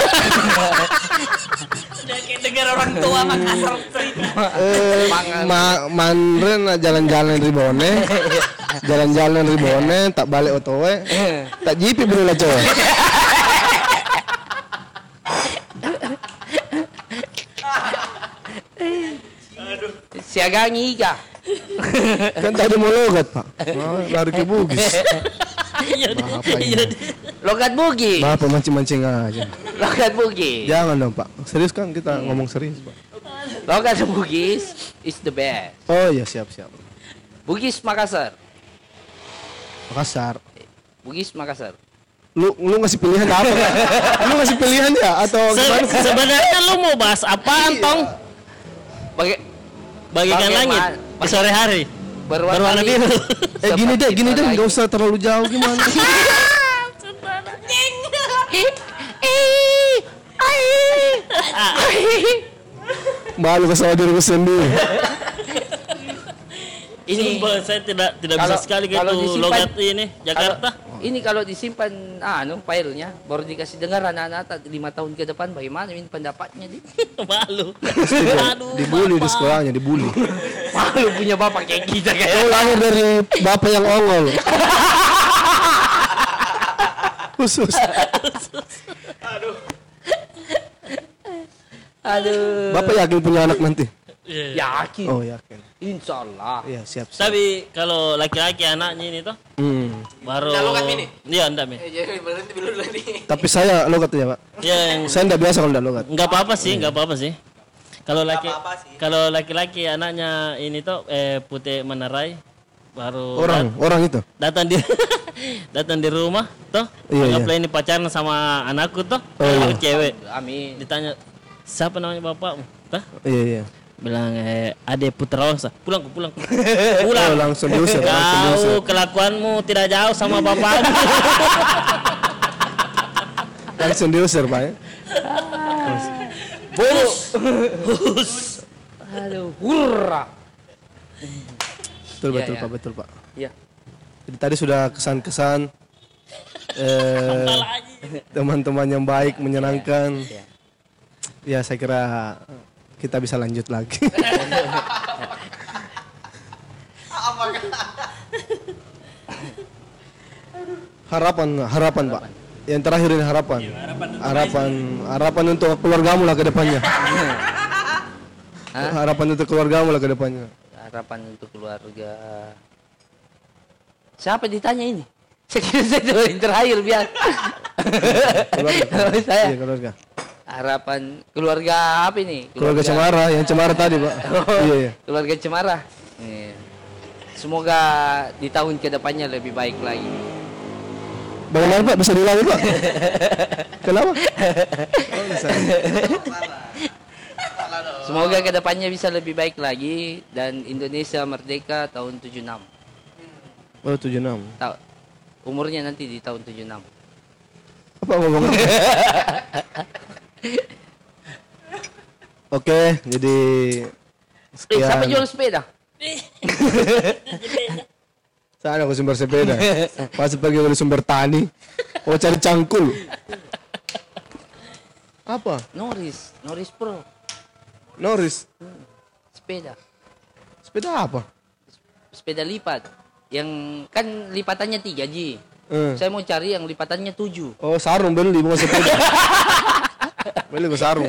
S4: kayak denger orang tua Makassar cerita.
S2: Eh, ma Mandrin nak jalan-jalan ribone, jalan-jalan ribone, tak balik otowe, tak jipi bro lah cowok.
S3: Siagang iga.
S2: Kan tadi mau logat pak, Mau lari ke bugis.
S1: iya deh,
S2: Apa ini?
S1: iya deh.
S3: Logat bugi.
S2: Bapak mancing-mancing aja.
S3: Logat bugi.
S2: Jangan dong pak, serius kan kita ngomong serius pak.
S3: Logat bugis is the best.
S2: Oh iya siap siap.
S3: Bugis Makassar.
S2: Makassar.
S3: Bugis Makassar.
S2: Lu lu ngasih pilihan apa? Pak? lu ngasih pilihan ya atau
S1: Se-
S2: gimana? Pak?
S1: sebenarnya lu mau bahas apaan
S3: Iya.
S1: tong
S3: Baga-
S1: bagikan
S3: Bagai
S1: langit
S3: ma-
S1: di sore hari
S3: berwarna,
S1: berwarna
S3: biru.
S1: biru
S2: Eh gini deh, gini deh, nggak
S3: Seperti
S2: usah terlalu jauh gimana?
S3: Iya.
S1: Ah,
S2: Malu kesal diriku sendiri.
S1: ini saya tidak tidak bisa
S3: Iya. Kalau-
S1: sekali
S3: kalau
S1: gitu
S3: disimpan-
S1: logat ini Jakarta
S3: Kalau- ini kalau disimpan ah, anu filenya baru dikasih dengar anak-anak tak- lima tahun ke depan bagaimana ini pendapatnya di
S1: malu aduh
S2: Dibully di sekolahnya, dibully.
S3: malu punya bapak kayak kita kayak
S2: Lu lahir dari bapak yang ongol. Khusus.
S3: aduh
S2: Bapak yakin punya anak nanti?
S1: Iya.
S3: yakin
S2: Oh yakin.
S3: insya Allah
S2: Iya siap siap.
S1: tapi kalau laki-laki anaknya ini toh
S2: Hmm.
S1: baru
S5: Ndak logat ini? Eh,
S1: iya ndak mi
S5: Jadi berhenti dulu lagi.
S2: Tapi saya logat ya pak.
S1: ya
S3: Hmm.
S1: yang
S2: Saya nggak biasa kalau nggak logat.
S1: nggak apa-apa
S2: Oh,
S1: sih
S2: iya.
S1: nggak apa-apa sih kalau laki
S5: apa-apa sih.
S1: kalau laki-laki anaknya ini toh eh putih menerai baru
S2: Orang, orang itu.
S1: datang di datang di rumah toh
S2: Iya, iya.
S1: anggaplah ini pacaran sama anakku toh
S2: Oh, iya.
S1: Anakku cewek
S3: amin
S1: ditanya siapa namanya bapakmu Tah?
S2: Iya iya.
S1: bilang eh ade putra wangsa pulang ku pulang ku.
S2: Oh,
S1: pulang
S2: langsung diusir, langsung diusir.
S1: kau kelakuanmu tidak jauh sama bapakmu
S2: Langsung diusir pak. ya.
S1: bonus
S3: aduh hurra
S2: Betul
S3: Iya,
S2: betul
S3: iya.
S2: pak, betul pak.
S3: ya
S2: Jadi tadi sudah kesan-kesan eh, teman-teman yang baik, menyenangkan. Ya saya kira kita bisa lanjut lagi. harapan, harapan pak. Yang terakhir ini Iya, harapan. Harapan, harapan untuk keluargamu lah ke depannya. Harapan untuk keluargamu lah ke depannya.
S3: harapan untuk keluarga siapa ditanya ini? Saya kira saya cuma yang terakhir biar.
S2: Keluarga.
S3: Kalau saya
S2: Iya, keluarga.
S3: harapan keluarga apa ini?
S2: Keluarga Cemara, yang Cemara tadi, Pak. Iya, iya.
S3: Keluarga Cemara. Iya. Semoga di tahun kedepannya lebih baik lagi.
S2: Bagaimana, Pak? Bisa diulangi, Pak? Kenapa? Oh, bisa.
S3: Semoga kedepannya bisa lebih baik lagi dan Indonesia merdeka tahun 76.
S2: Oh, 76.
S3: Ta umurnya nanti di tahun 76.
S2: Apa ngomongnya? Oke, jadi
S3: Eh, siapa
S2: sekian.
S3: jual sepeda?
S2: Saya aku sumber sepeda. Pas pergi dari sumber tani, mau cari cangkul. Apa?
S3: Noris, Noris Pro,
S2: Noris?
S3: sepeda.
S2: Sepeda apa?
S3: Sepeda lipat. Yang kan lipatannya 3G.
S2: Eh.
S3: Saya mau cari yang lipatannya 7.
S2: Oh sarung beli bukan sepeda. beli gue sarung.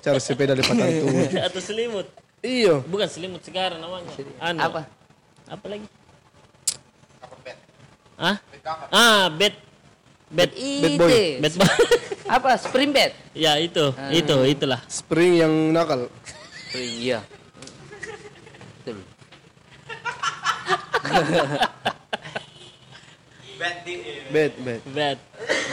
S2: Cara sepeda lipatan itu.
S1: Atau selimut.
S2: Iyo.
S1: Bukan selimut sekarang namanya. Anu.
S3: Apa?
S1: Apa lagi? Hah? Ah, bed. Bed.
S2: bad boy.
S3: Ite.
S1: Bed. ba-
S3: Apa? Spring bed.
S1: ya, itu. Itu, itulah.
S2: Spring yang nakal.
S3: Spring, iya. Betul.
S5: Bad di-
S2: Bed, bed.
S1: Bad.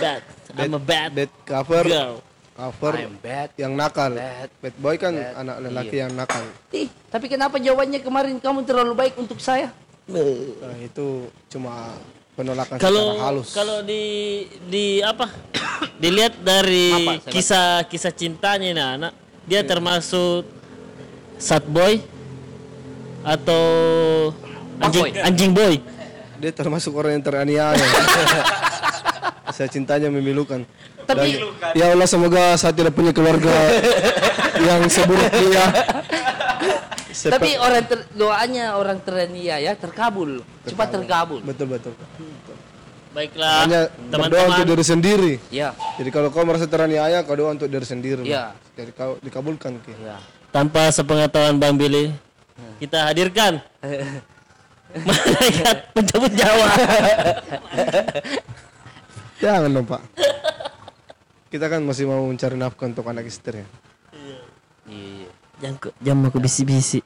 S1: Bad. I'm a bad,
S2: Bed cover.
S1: girl.
S2: Cover.
S3: I'm bad.
S2: Yang nakal.
S3: Bad.
S2: Bad boy kan
S3: Bad.
S2: anak lelaki yang nakal.
S3: Ih, tapi kenapa jawabannya kemarin kamu terlalu baik untuk saya?
S2: Nah, itu cuma penolakan
S1: Kalau
S2: secara halus.
S1: kalau di di apa? Dilihat dari
S3: Apa, saya Iya.
S1: kisah kisah cintanya ini anak, dia termasuk sad boy atau anjing
S3: boy.
S1: anjing boy.
S2: Dia termasuk orang yang teraniaya. Saya cintanya memilukan.
S3: Tapi-
S2: Dan, ya Allah semoga saya tidak punya keluarga yang seburuk dia. Sepak-
S3: Tapi orang ter- doanya orang teraniaya terkabul, cepat terkabul.
S2: betul betul.
S1: Baiklah,
S2: Hanya berdoa untuk
S1: Ah, teman-teman.
S2: diri sendiri.
S3: Ya,
S2: Jadi kalau kau merasa teraniaya, kau doa untuk diri sendiri.
S3: Iya.
S2: Jadi kau dikabulkan. Ki.
S3: ya.
S1: Tanpa sepengetahuan Bang Billy, kita hadirkan malaikat pencabut Jawa.
S2: Jangan dong pak. Kita kan masih mau mencari nafkah untuk anak istri. ya.
S3: Iya. iya.
S1: Jangan ku- jangan mau ku bisi-bisi.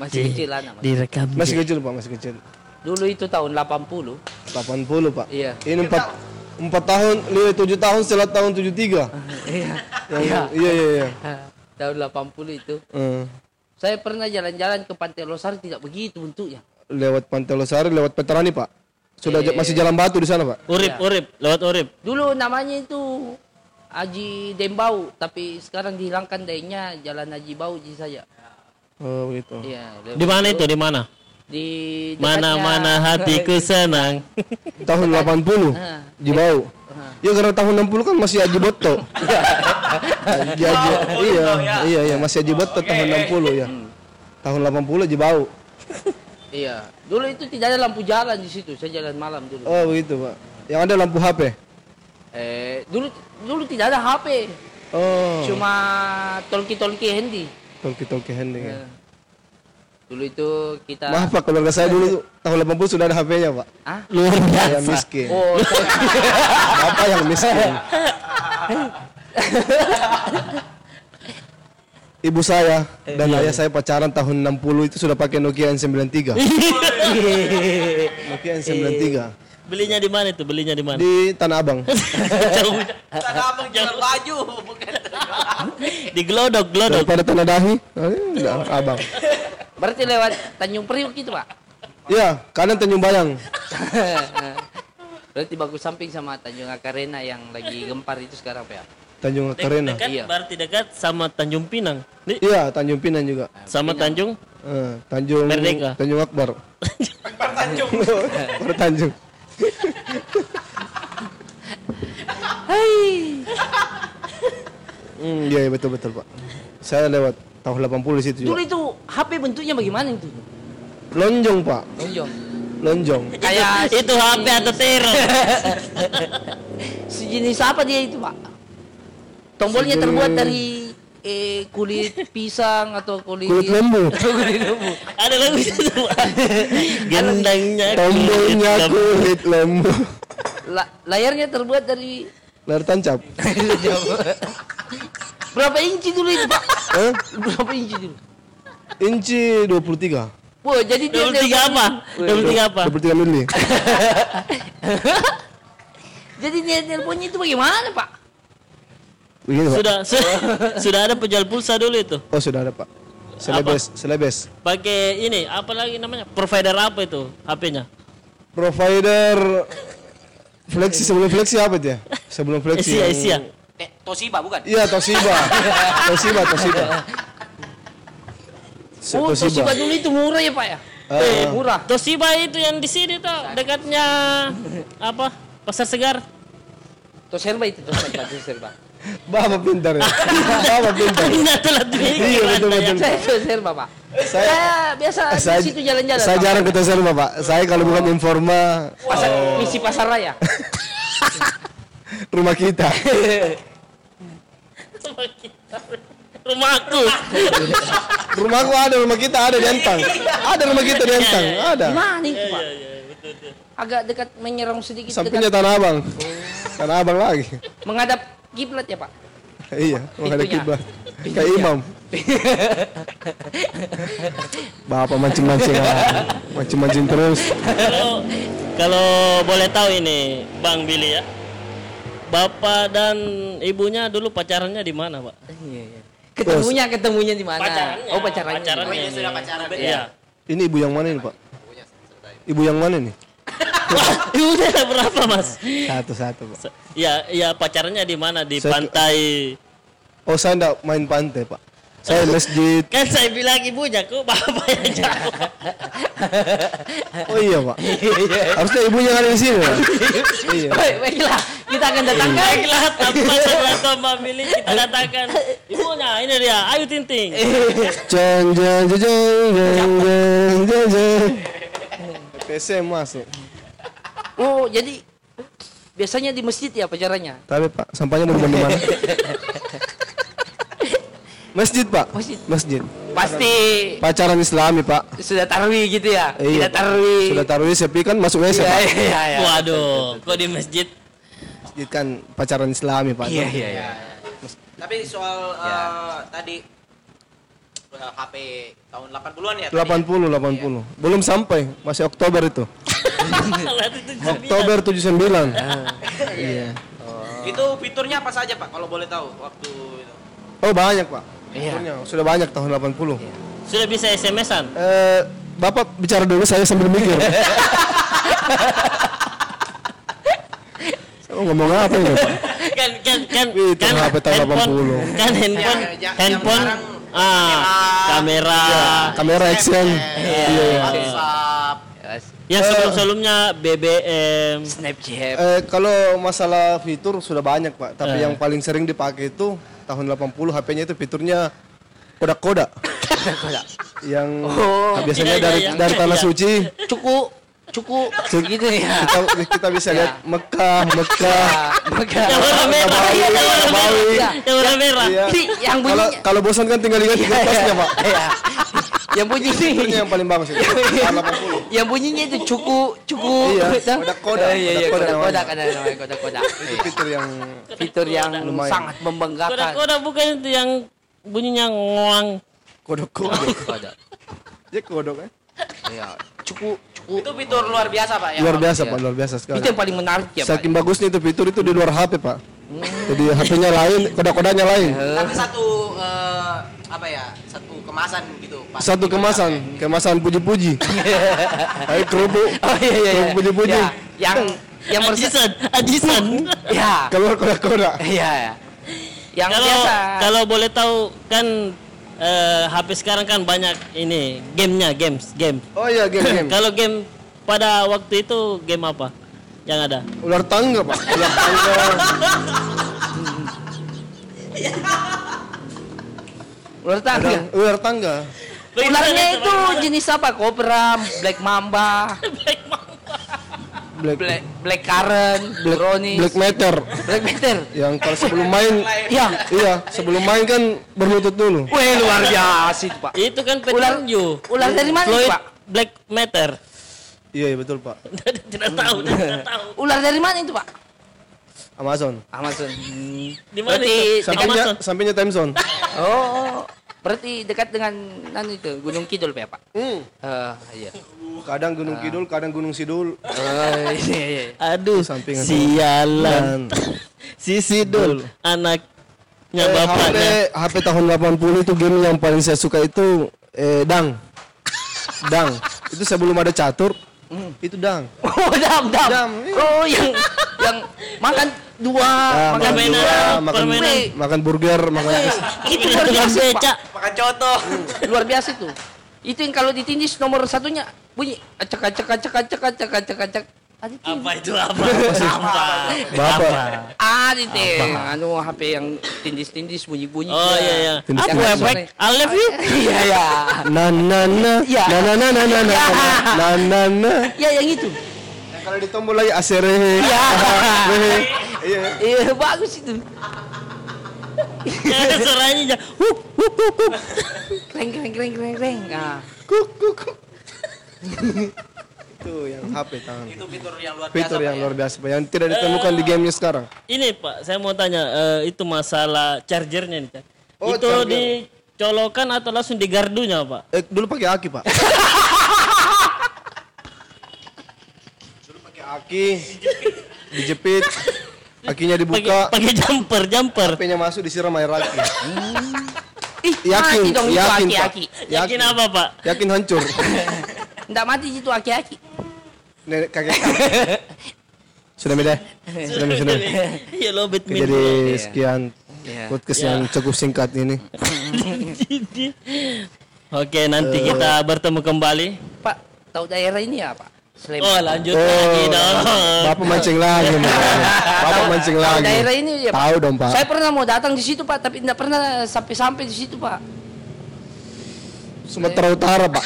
S3: Masih kecil anak. Mas.
S1: Direkam.
S2: Masih kecil pak, masih kecil.
S3: Dulu itu tahun 80.
S2: 80 pak.
S3: Iya.
S2: Ini empat empat tahun, lima tujuh tahun setelah tahun 73
S3: Iya.
S2: Yang- Iya iya iya.
S3: tahun 80 itu
S2: Eh,
S3: saya pernah jalan-jalan ke Pantai Losari tidak begitu bentuknya.
S2: lewat Pantai Losari, lewat Petrani pak. Sudah j- masih jalan batu di sana pak.
S1: Urip,
S3: Ya.
S1: urip, lewat urip.
S3: Dulu namanya itu Haji Dembau, tapi sekarang dihilangkan dayanya Jalan Haji Bauji saja.
S2: Oh begitu.
S3: Iya.
S1: Di mana itu? Di mana?
S3: Di dekatnya-
S1: Mana-mana hatiku senang.
S2: Tahun 80 Jibau. Ya karena tahun 60 kan masih Aji Boto. Aji Aji. Iya, iya iya masih Aji Boto tahun 60 ya. Tahun 80 Aji Bau.
S3: Iya. Dulu itu tidak ada lampu jalan di situ. Saya jalan malam dulu.
S2: Oh begitu, Pak. Yang ada lampu HP.
S3: Eh, dulu dulu tidak ada HP.
S2: Oh.
S3: Cuma tolki-tolki handy.
S2: Tolki-tolki handing. ya.
S3: Dulu itu kita
S2: Maaf Pak, keluarga saya dulu tahun 80 sudah ada HP-nya, Pak.
S3: Ah?
S1: Luar biasa.
S2: Yang miskin.
S3: Oh, saya-
S2: Bapak yang miskin. Ibu saya dan
S3: Iya,
S2: ayah saya pacaran tahun 60 itu sudah pakai Nokia N93. Nokia N93
S1: Belinya di mana itu? Belinya
S3: Iya.
S1: di mana?
S2: di Tanah Abang.
S1: Jauh.
S5: Tanah abang jual baju, bukan
S1: di Glodok, Glodok.
S2: Daripada Tanah Dahi, eh, Tanah Abang.
S3: berarti lewat Tanjung Priuk gitu, Pak.
S2: Ya, kanan Tanjung Bayang.
S3: berarti bagus samping sama Tanjung Akarena yang lagi gempar itu sekarang, Pak. ya?
S2: Tanjung
S1: Dek-
S2: Karena.
S1: Dekat,
S3: Iya.
S1: berarti dekat sama Tanjung Pinang. Di,
S2: Iya, Tanjung Pinang juga.
S1: sama Tanjung
S2: Eh, Tanjung
S1: Merdeka.
S2: Tanjung Akbar. Akbar Tanjung.
S3: Hai.
S2: Hmm, iya iya, betul betul, Pak. Saya lewat tahun 80 di situ juga.
S3: Dulu itu HP bentuknya bagaimana itu?
S2: Lonjong, Pak.
S3: Lonjong.
S2: Lonjong.
S3: Kayak
S1: itu HP atau terong
S3: sejenis apa dia itu, Pak? Tombolnya
S2: Sejenis-
S3: terbuat dari eh, kulit pisang atau kulit
S2: Kulit lembu.
S3: kulit lembu.
S1: Ada lagu itu. Gendangnya.
S2: Tombolnya kulit lembu.
S3: La- layarnya terbuat dari
S2: Layar tancap.
S3: berapa inci dulu itu pak?
S2: Eh?
S3: berapa inci dulu?
S2: Inci 23.
S3: Wah jadi dia
S1: 23 apa? 23 apa?
S2: 23 mili.
S3: Jadi dia teleponnya itu bagaimana pak?
S2: Begini, Pak.
S1: Sudah sudah, sudah ada penjual pulsa dulu itu.
S2: Oh, sudah ada, Pak. Selebes, selebes.
S1: Pakai ini apa lagi namanya? Provider apa itu HP-nya?
S2: Provider Flexi sebelum Flexi apa dia? Sebelum Flexi.
S1: Asia
S2: yang-
S1: Asia.
S5: Eh, Toshiba bukan?
S2: Iya, Toshiba. Toshiba, Toshiba. Se-
S3: Oh Toshiba dulu itu murah ya pak ya?
S2: Ah.
S3: Eh, murah.
S1: Toshiba itu yang di sini tuh dekatnya apa? Pasar Segar.
S3: Tosherba itu Tosherba Tosherba.
S2: Bapak pintar ya. Bapak pintar.
S1: Pindah telat mikir
S2: Iya,
S1: Anda
S2: betul,
S1: ya.
S2: betul.
S3: Saya Tosherba pak.
S2: Saya-
S3: Saya, biasa
S2: Saya-
S3: di situ jalan-jalan.
S2: Saya
S3: Pak.
S2: jarang ke Toshiba, Pak. Saya kalau bukan informa
S3: Pasar, misi pasar raya.
S2: rumah kita.
S1: Rumah aku.
S2: Rumahku ada, rumah kita ada di Entang. Ada rumah kita di Entang, ada.
S3: Gimana itu
S1: Iya,
S3: pak? Agak dekat menyerang sedikit
S2: Sampingnya
S3: dekat
S2: Tanah Abang. Tanah Abang lagi.
S3: menghadap kiblat ya pak.
S2: Iya, menghadap
S3: Pintunya.
S2: kiblat. Kayak imam. Bapak mancing-mancing ah. Mancing-mancing terus.
S1: Kalau kalau boleh tahu ini Bang Billy ya. Bapak dan ibunya dulu pacarannya di mana, Pak?
S3: Eh, iya, Ketemunya ketemunya di mana?
S1: Pacarannya.
S3: Oh pacarannya.
S1: Pacarannya.
S3: Oh,
S1: ini.
S5: sudah pacaran.
S1: Iya.
S2: Ini ibu yang mana ini, Pak? Ibu yang mana nih?
S1: Ibunya berapa, Mas?
S2: Satu-satu, Pak.
S1: Se- Ya, ya pacarnya di mana? Di
S2: Saya-
S1: pantai.
S2: Oh, saya enggak main pantai, Pak. Saya masjid.
S1: Kan saya bilang ibunya kok bapak yang jauh.
S2: Oh iya, Pak. Harusnya ibunya kan ada di sini. Pak. Iya.
S3: Baik, Baiklah, kita akan datangkan.
S1: Baiklah, tanpa tanpa memilih kita datangkan ibunya. Ini dia, Ayu Tinting.
S2: Jeng jeng jeng jeng jeng jeng jeng jeng. PTC masuk.
S3: Oh, jadi biasanya di masjid ya pacarannya?
S2: Tapi Pak, sampahnya mau dibuang di mana? Masjid, Pak.
S3: Masjid.
S2: Masjid.
S3: Pasti
S2: Pacaran Islami, Pak.
S3: sudah tarwi gitu ya?
S2: Iya,
S3: Tidak
S2: Pak.
S3: tarwi.
S2: Sudah taruh sepi kan masuk WC,
S3: Iya,
S2: Pak.
S3: iya, iya, iya.
S1: Waduh, kok di masjid?
S2: Masjid kan pacaran Islami, Pak.
S3: Iya, iya, iya.
S5: Tapi soal
S3: Ya.
S5: eh, tadi eh, HP tahun 80-an ya? tadi?
S2: 80, 80.
S3: Iya.
S2: Belum sampai, masih Oktober itu.
S1: Lihat itu
S3: Iya.
S1: cerminan.
S2: Oktober 79.
S5: Itu fiturnya apa saja Pak kalau boleh tahu waktu itu?
S2: Oh, banyak, Pak.
S3: Iya.
S2: Punya, Sudah banyak tahun 80.
S1: Sudah bisa SMS-an?
S2: Eh, Bapak bicara dulu saya sambil mikir. saya mau ngomong apa ini, Pak?
S1: kan kan kan
S2: Wih, itu
S1: kan
S2: HP tahun
S1: handphone
S2: 80.
S1: kan handphone
S5: Ya, ya, ya,
S1: handphone
S5: yang
S1: ah kamera
S2: Kamera action.
S5: Iya,
S2: Iya, iya.
S5: WhatsApp.
S1: yang sebelum sebelumnya BBM
S3: Snapchat.
S2: Eh, kalau masalah fitur sudah banyak pak, tapi
S1: Eh.
S2: yang paling sering dipakai itu tahun 80 HP-nya itu fiturnya kodak-kodak. yang
S1: Iya,
S2: biasanya
S1: iya,
S2: dari
S1: iya.
S2: dari tanah
S1: Iya.
S2: suci
S3: Cukup, cukup. Gitu ya.
S2: kita kita bisa lihat Mekah, Mekah.
S3: Maka,
S1: yang warna merah
S2: Nabawi,
S1: yang warna
S2: Nabawi.
S1: merah yang warna merah
S2: Iya.
S3: Ini yang
S2: Kalau
S3: bunyinya.
S2: kalau bosan kan tinggal lihat tiga tasnya pak.
S3: Iya. yang bunyi
S2: Fiturnya yang paling bagus itu tahun 80.
S3: yang bunyinya itu cukup cukup
S2: Iya,
S3: Tahu?
S2: kodak-kodak,
S3: Eh, iya, iya,
S2: kodak-kodak
S3: kodak kodak
S2: namanya.
S3: ada namanya kodak kodak
S2: Itu fitur yang
S3: fitur yang
S2: Lumayan.
S3: sangat
S1: kodak
S3: membanggakan
S1: kodak bukan itu yang bunyinya ngoang
S2: kodok-kodok.
S3: kodak
S2: Dia kodok kan?
S3: iya cukup cukup
S5: Itu fitur luar biasa Pak ya.
S2: Luar biasa
S3: iya.
S2: pak, luar biasa sekali.
S3: itu yang paling menarik ya Pak. Hmm.
S2: Saking bagusnya itu fitur itu di luar HP pak. Jadi HP-nya lain, kodak-kodaknya lain.
S5: Tapi satu eh, apa ya? Satu kemasan gitu Pak.
S2: Satu kemasan, kemasan puji-puji. Ayo kerupuk.
S3: oh iya iya iya
S2: Kerupuk puji-puji.
S3: Ya, yang yang merasa
S1: Addison Addison
S3: ya
S2: Keluar kodak-kodak.
S3: iya ya. yang
S1: kalau
S3: biasa
S1: kalau boleh tahu kan eh, HP sekarang kan banyak ini gamenya games game
S2: Oh iya game-game.
S1: kalau game pada waktu itu game apa yang ada
S2: Ular tangga pak. Ular tangga.
S3: ular tangga
S2: Ada- Ular tangga.
S1: Bagaimana
S3: ya, ularnya
S1: itu,
S3: itu jenis apa kobra black mamba
S1: Black Mamba.
S2: Black
S3: Black Black Karen, Brownies,
S2: Black Matter
S3: Black Panther.
S2: yang kalau sebelum main
S3: Ya,
S2: iya sebelum main kan berlutut dulu
S3: weh luar biasa itu pak.
S1: Itu kan
S3: Ular-
S1: petinju.
S3: ular dari mana,
S1: Floyd
S3: Pak?
S1: Black Matter.
S2: iya iya betul pak
S1: tidak tahu, tidak tahu.
S3: Ular dari mana itu pak?
S2: Amazon
S3: Amazon. hmm.
S1: Di mana
S3: Berarti
S1: itu? Di
S2: sampingnya
S1: Amazon.
S2: sampingnya time zone
S3: Oh, berarti dekat dengan anu itu Gunung Kidul Pak, ya, Pak.
S2: Hmm.
S3: Eh, iya.
S2: kadang gunung kidul kadang gunung sidul
S3: Eh, iya, iya.
S1: Aduh,
S2: Sampingan.
S1: sialan.
S2: Dan-
S1: Si Sidul, anaknya
S2: Eh,
S1: bapaknya.
S2: HP, HP tahun 80 itu game yang paling saya suka itu eh, Dang. Dang. Itu sebelum ada catur, itu Dang.
S3: Oh, dam, dam.
S2: Dam, iya.
S3: Oh, yang yang makan dua,
S2: Ah,
S3: makan
S1: permainan,
S3: dua.
S2: makan,
S1: permainan.
S2: makan burger, makan bis.
S3: Itu luar biasa, Pak.
S1: beca.
S5: Makan coto.
S3: Luar biasa itu. Itu yang kalau ditindis nomor satunya bunyi acak acak acak acak acak acak acak. Ada itu.
S4: Apa itu apa? apa?
S2: Bapak.
S1: Ah,
S3: Ada itu. Anu HP yang tindis-tindis bunyi-bunyi.
S1: Oh iya iya. Apa
S2: Tindak
S3: lanjut.
S1: efek? I love you.
S3: Iya, iya.
S2: Na na na.
S3: Ya.
S2: Na na na na na na. Na na na.
S3: Ya, yang itu.
S2: Kalau ditombol lagi asere.
S3: Iya.
S2: Iya.
S3: Iya, bagus itu.
S1: Ada suaranya ja- Wup, wup, wup, wup.
S3: Kreng kreng kreng kreng kreng. Nah.
S2: Itu yang HP tangan.
S5: Itu fitur yang luar biasa.
S2: Fitur
S5: Pak,
S2: yang
S5: ya.
S2: luar biasa Pak, Eh. yang tidak ditemukan di gamenya sekarang.
S1: Ini Pak, saya mau tanya eh, itu masalah chargernya nih, Cak.
S2: Oh,
S1: itu
S2: charger.
S1: dicolokan atau langsung di gardunya, Pak?
S2: Eh, dulu pakai aki pak. dulu pakai aki, dijepit, akinya
S1: Pakai
S2: dibuka,
S1: pakai jumper, jumper.
S2: HP-nya masuk disiram air aki.
S3: Ih,
S2: Yakin,
S3: mati dong itu
S2: yakin pak.
S3: aki-aki.
S1: Yakin apa, Pak?
S2: Yakin hancur.
S3: Enggak mati itu aki-aki.
S2: Nenek kakek. Sudah beda. Sudah sudah.
S1: Iya, lobet min.
S2: Eh, Jadi sekian
S3: Iya.
S2: podcast
S1: Iya.
S2: yang cukup singkat ini.
S1: Oke, nanti
S2: Eh.
S1: kita bertemu kembali.
S3: Pak, tahu daerah ini ya, Pak? Sleman.
S1: Oh, lanjut
S2: Eh.
S1: lagi dong.
S2: Bapak mancing lagi, Pak. Bapak mancing
S3: tahu
S2: lagi.
S3: daerah ini ya, Pak?
S2: Tahu dong,
S1: iya.
S2: Pak.
S3: Saya pernah mau datang di situ, Pak, tapi enggak pernah sampai-sampai di situ, Pak.
S2: Sumatera Utara, Pak.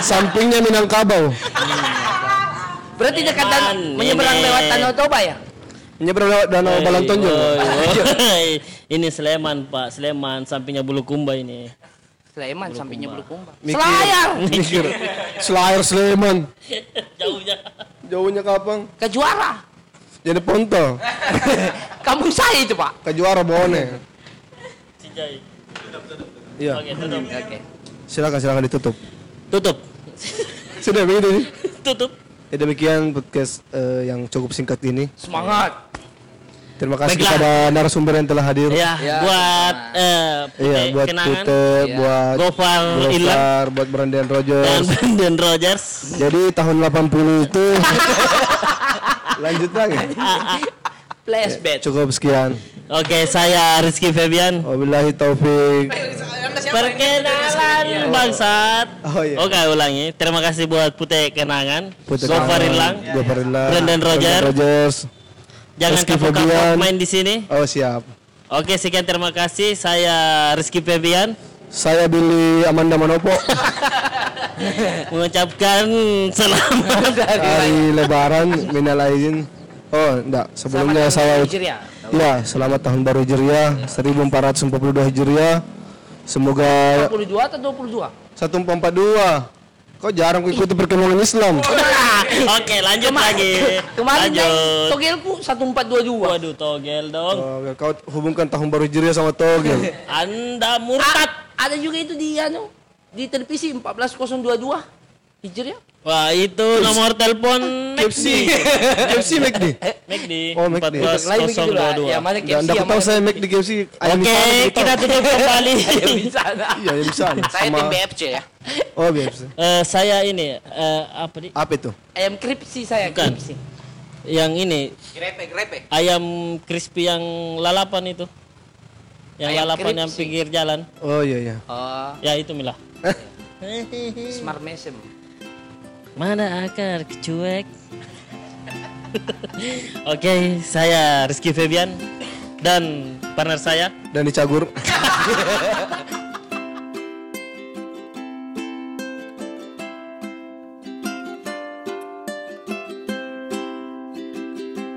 S2: Sampingnya Minangkabau.
S3: Berarti dekat dan
S1: Sleman,
S3: menyeberang
S1: ini.
S3: lewat Danau Toba ya?
S2: Menyeberang lewat Danau
S1: Woi,
S2: Balantonjol.
S1: woi, woi. oh, iya. ini Sleman, Pak. Sleman sampingnya Bulukumba ini.
S3: Sleman sampingnya Bulukumba.
S2: Mikir.
S3: Selayar
S2: Mikir. Selayar Sleman.
S1: Jauhnya.
S2: Jauhnya Kapang.
S3: ke juara.
S2: Jadi Ponto.
S3: Kampung saya itu,
S2: Ke
S3: Pak.
S2: Juara Bone.
S1: Cijai.
S2: Iya.
S1: Oke, tutup.
S3: Oke.
S2: Silakan silakan ditutup.
S1: Tutup.
S2: Sudah begitu nih.
S1: Tutup.
S2: Ya demikian podcast eh, yang cukup singkat ini.
S3: Semangat.
S2: Terima kasih
S1: Baiklah.
S2: kepada narasumber yang telah hadir.
S1: Ya,
S3: Ya,
S1: buat eh
S2: Iya,
S1: Putih
S2: buat
S1: kenangan
S2: Tute,
S3: Iya.
S2: buat
S1: Gofar Ilham.
S2: Gofar, buat Brandon
S1: dan
S2: Rogers.
S1: Brandon Rogers.
S2: Jadi tahun 80 itu lanjut lagi.
S1: Iya.
S3: Flashback.
S2: Cukup sekian.
S1: Oke, saya Rizky Febian.
S2: Wabillahi taufik.
S1: Perkenalan bangsat.
S2: Oh, iya.
S1: Oke, ulangi. Terima kasih buat Putih Kenangan,
S2: Putih
S1: Gofar
S2: Kangen,
S1: Ilham.
S2: Gofar Ilham,
S1: Brandon Rogers. Jangan
S2: Rizky
S1: kapok-kapok
S2: Febian.
S1: main di sini.
S2: Oh siap.
S1: Oke, sekian terima kasih. Saya Rizky Febian
S2: Saya Billy Amanda Manopo
S1: mengucapkan selamat
S2: dari Lebaran minal aidin. Oh, enggak. Sebelumnya saya
S3: Nigeria.
S2: Ya, selamat tahun baru
S1: Iya.
S2: Hijriah 1442 Hijriah. Semoga
S3: 22 atau 22?
S2: 1442. Kok jarang ikuti perkembangan Islam?
S1: Oke, lanjut lagi.
S3: Kemarin kan
S1: lanjut.
S3: togelku 1422.
S1: Waduh, togel dong.
S2: Oh, kau hubungkan tahun baru Hijriah sama togel.
S1: Anda murtad.
S3: A- ada juga itu di anu di televisi 14022 Hijriah.
S1: Wah, itu nomor telepon
S2: KFC. KFC McD.
S1: McD.
S2: Oh, McD.
S3: Lain begitu lah. Ya
S1: 14022.
S3: mana
S2: Enggak, enggak tahu saya McD KFC. ayam
S1: Oke,
S2: instan, aku tahu.
S1: kita tutup kembali.
S3: di sana.
S2: Iya, ayam instan.
S3: Saya tim
S2: Sama-
S3: BFC ya.
S2: Oh, biasa.
S1: Eh, saya ini eh, apa di?
S2: Apa itu?
S3: Ayam kripsi saya
S1: Bukan.
S3: kripsi.
S1: Yang ini
S5: Grepe, grepe.
S1: ayam crispy yang lalapan itu. Yang
S3: Ayam
S1: lalapan yang
S3: crispy.
S1: pinggir jalan.
S2: Oh iya iya.
S3: Oh,
S1: Ya itu Mila.
S3: smart mesem.
S1: Mana akar kecuek? Oke, saya Rizky Febian dan partner saya
S2: Dan dicagur.